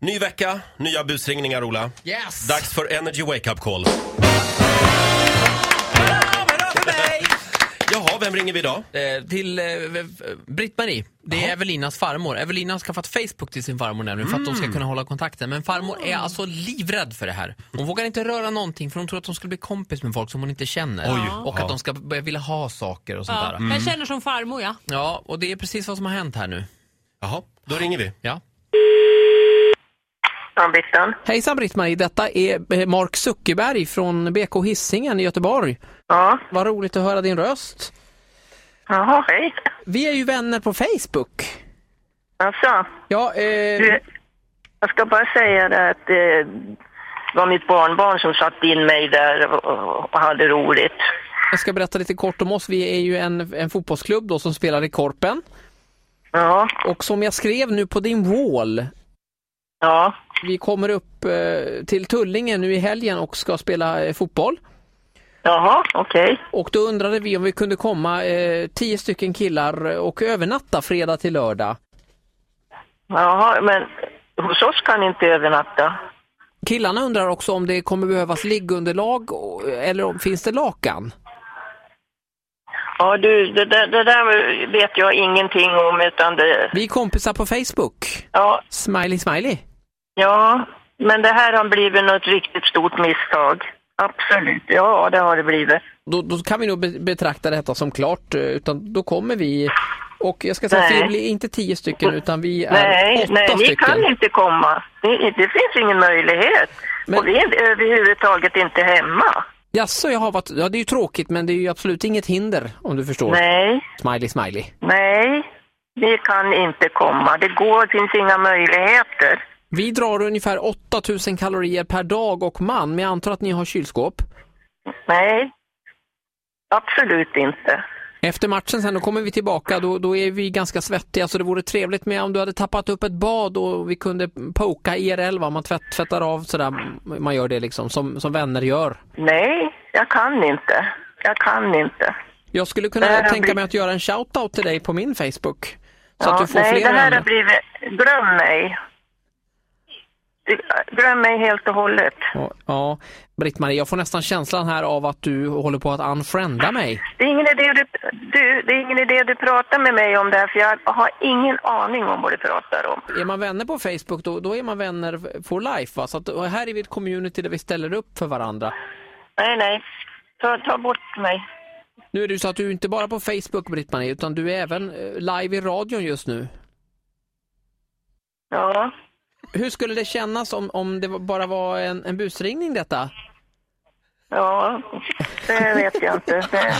Ny vecka, nya busringningar, Ola. Yes! Dags för Energy Wake Up Call. Bra för mig! Jaha, vem ringer vi idag? Eh, till eh, v- v- Britt-Marie. Det är Evelinas farmor. Evelina har skaffat Facebook till sin farmor nämligen för att de ska kunna hålla kontakten. Men farmor är alltså livrädd för det här. Hon vågar inte röra någonting för hon tror att hon skulle bli kompis med folk som hon inte känner. Oj. Och Ja. att de ska börja vilja ha saker och sånt Ja, där. Mm. Jag känner som farmor ja. Ja, och det är precis vad som har hänt här nu. Jaha, då ringer vi. Ja. Ja, Brittan. Hejsan Britt-Marie, detta är eh, Mark Zuckerberg från BK Hisingen i Göteborg. Ja. Vad roligt att höra din röst. Jaha, hej. Vi är ju vänner på Facebook. Alltså, Ja, eh, du, jag ska bara säga det att eh, det var mitt barnbarn som satte in mig där och, och hade roligt. jag ska berätta lite kort om oss. Vi är ju en, en fotbollsklubb då som spelar i Korpen. Ja, Och som jag skrev nu på din wall, ja, vi kommer upp eh, till Tullinge nu i helgen och ska spela eh, fotboll. jaha, okej. Och då undrade vi om vi kunde komma eh, tio stycken killar eh, och övernatta fredag till lördag. Jaha, men hos oss kan ni inte övernatta. Killarna undrar också om det kommer behövas liggunderlag och- eller om finns det lakan? Ja, du, det, där- det där vet jag ingenting om utan det... Vi är kompisar på Facebook. Ja, Smiley smiley. ja, men det här har blivit något riktigt stort misstag. Absolut, ja det har det blivit. Då, då kan vi nog be- betrakta detta som klart eh, utan då kommer vi och jag ska säga Nej. att vi blir inte tio stycken utan vi är Nej, åtta nej, ni stycken. kan inte komma. Ni, det finns ingen möjlighet. Men- Och vi är överhuvudtaget inte hemma. Jaså, jag har varit, ja det är ju tråkigt men det är ju absolut inget hinder om du förstår. Nej, Smiley smiley. nej, ni kan inte komma. Det går, finns inga möjligheter. Vi drar ungefär 8000 kalorier per dag och man men jag antar att ni har kylskåp. Nej, absolut inte. Efter matchen sen, då kommer vi tillbaka, då, då är vi ganska svettiga så det vore trevligt med om du hade tappat upp ett bad och vi kunde poka IRL, va? man tvätt, tvättar av sådär, man gör det liksom som, som vänner gör. Nej, jag kan inte. Jag kan inte. Jag skulle kunna Där har tänka vi- mig att göra en shoutout till dig på min Facebook. Så Ja, att du får nej, fler det här har vänner. blivit... Glöm mig. Du- Glöm mig helt och hållet. Ja, Ja, Britt-Marie, jag får nästan känslan här av att du håller på att unfrienda mig. Det är, ingen idé du, du, det är ingen idé du pratar med mig om det här, för jag har ingen aning om vad du pratar om. Är man vänner på Facebook, då, då är man vänner for life. Va? Så att, och här är vi ett community där vi ställer upp för varandra. Nej, nej. Ta, ta bort mig. Nu är det ju så att du är inte bara på Facebook Britt-Marie, utan du är även eh, live i radion just nu. Ja. Hur skulle det kännas om, om det var- bara var en, en busringning detta? Ja, det vet jag inte. Det,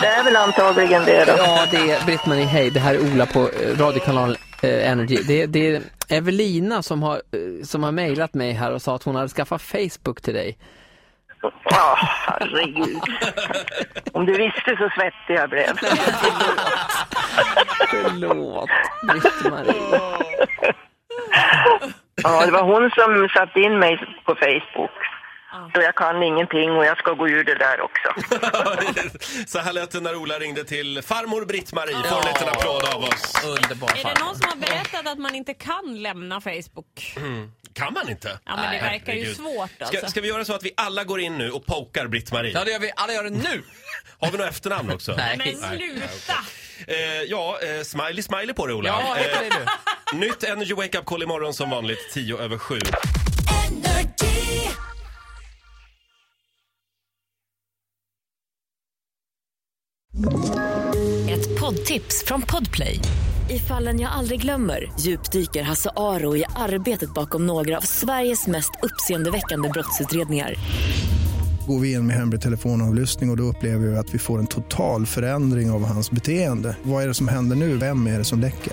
det är väl antagligen det då. Ja, det är Britt-Marie, hej, det här är Ola på eh, radiokanalen eh, Energy. Det, det är Evelina som har, eh, som har mejlat mig här och sa att hon hade skaffat Facebook till dig. Ja, herregud. Om du visste så svettig jag blev. Förlåt, Britt-Marie. Ja, det var hon som satte in mig på Facebook. Så jag kan ingenting och jag ska gå ur det där också. Så här lät det när Ola ringde till farmor Britt-Marie. Får en liten applåd av oss. Underbar Är det farmor. någon som har berättat att man inte kan lämna Facebook? Kan man inte? Ja men det verkar ju herregud. svårt Ska, alltså. ska vi göra så att vi alla går in nu och pokar Britt-Marie? Ja, det gör vi. Alla gör det nu! Har vi något efternamn också? Nej. Men sluta! Eh, ja, eh, smiley smiley på det Ola. Ja, vad heter det du? eh, nytt Energy Wake Up Call imorgon som vanligt 10 över 7. Ett poddtips från Podplay. I fallen jag aldrig glömmer djupdyker Hasse Aro i arbetet bakom några av Sveriges mest uppseendeväckande brottsutredningar. Går vi in med hemlig telefonavlyssning och, och då upplever vi att vi får en total förändring av hans beteende. Vad är det som händer nu? Vem är det som läcker?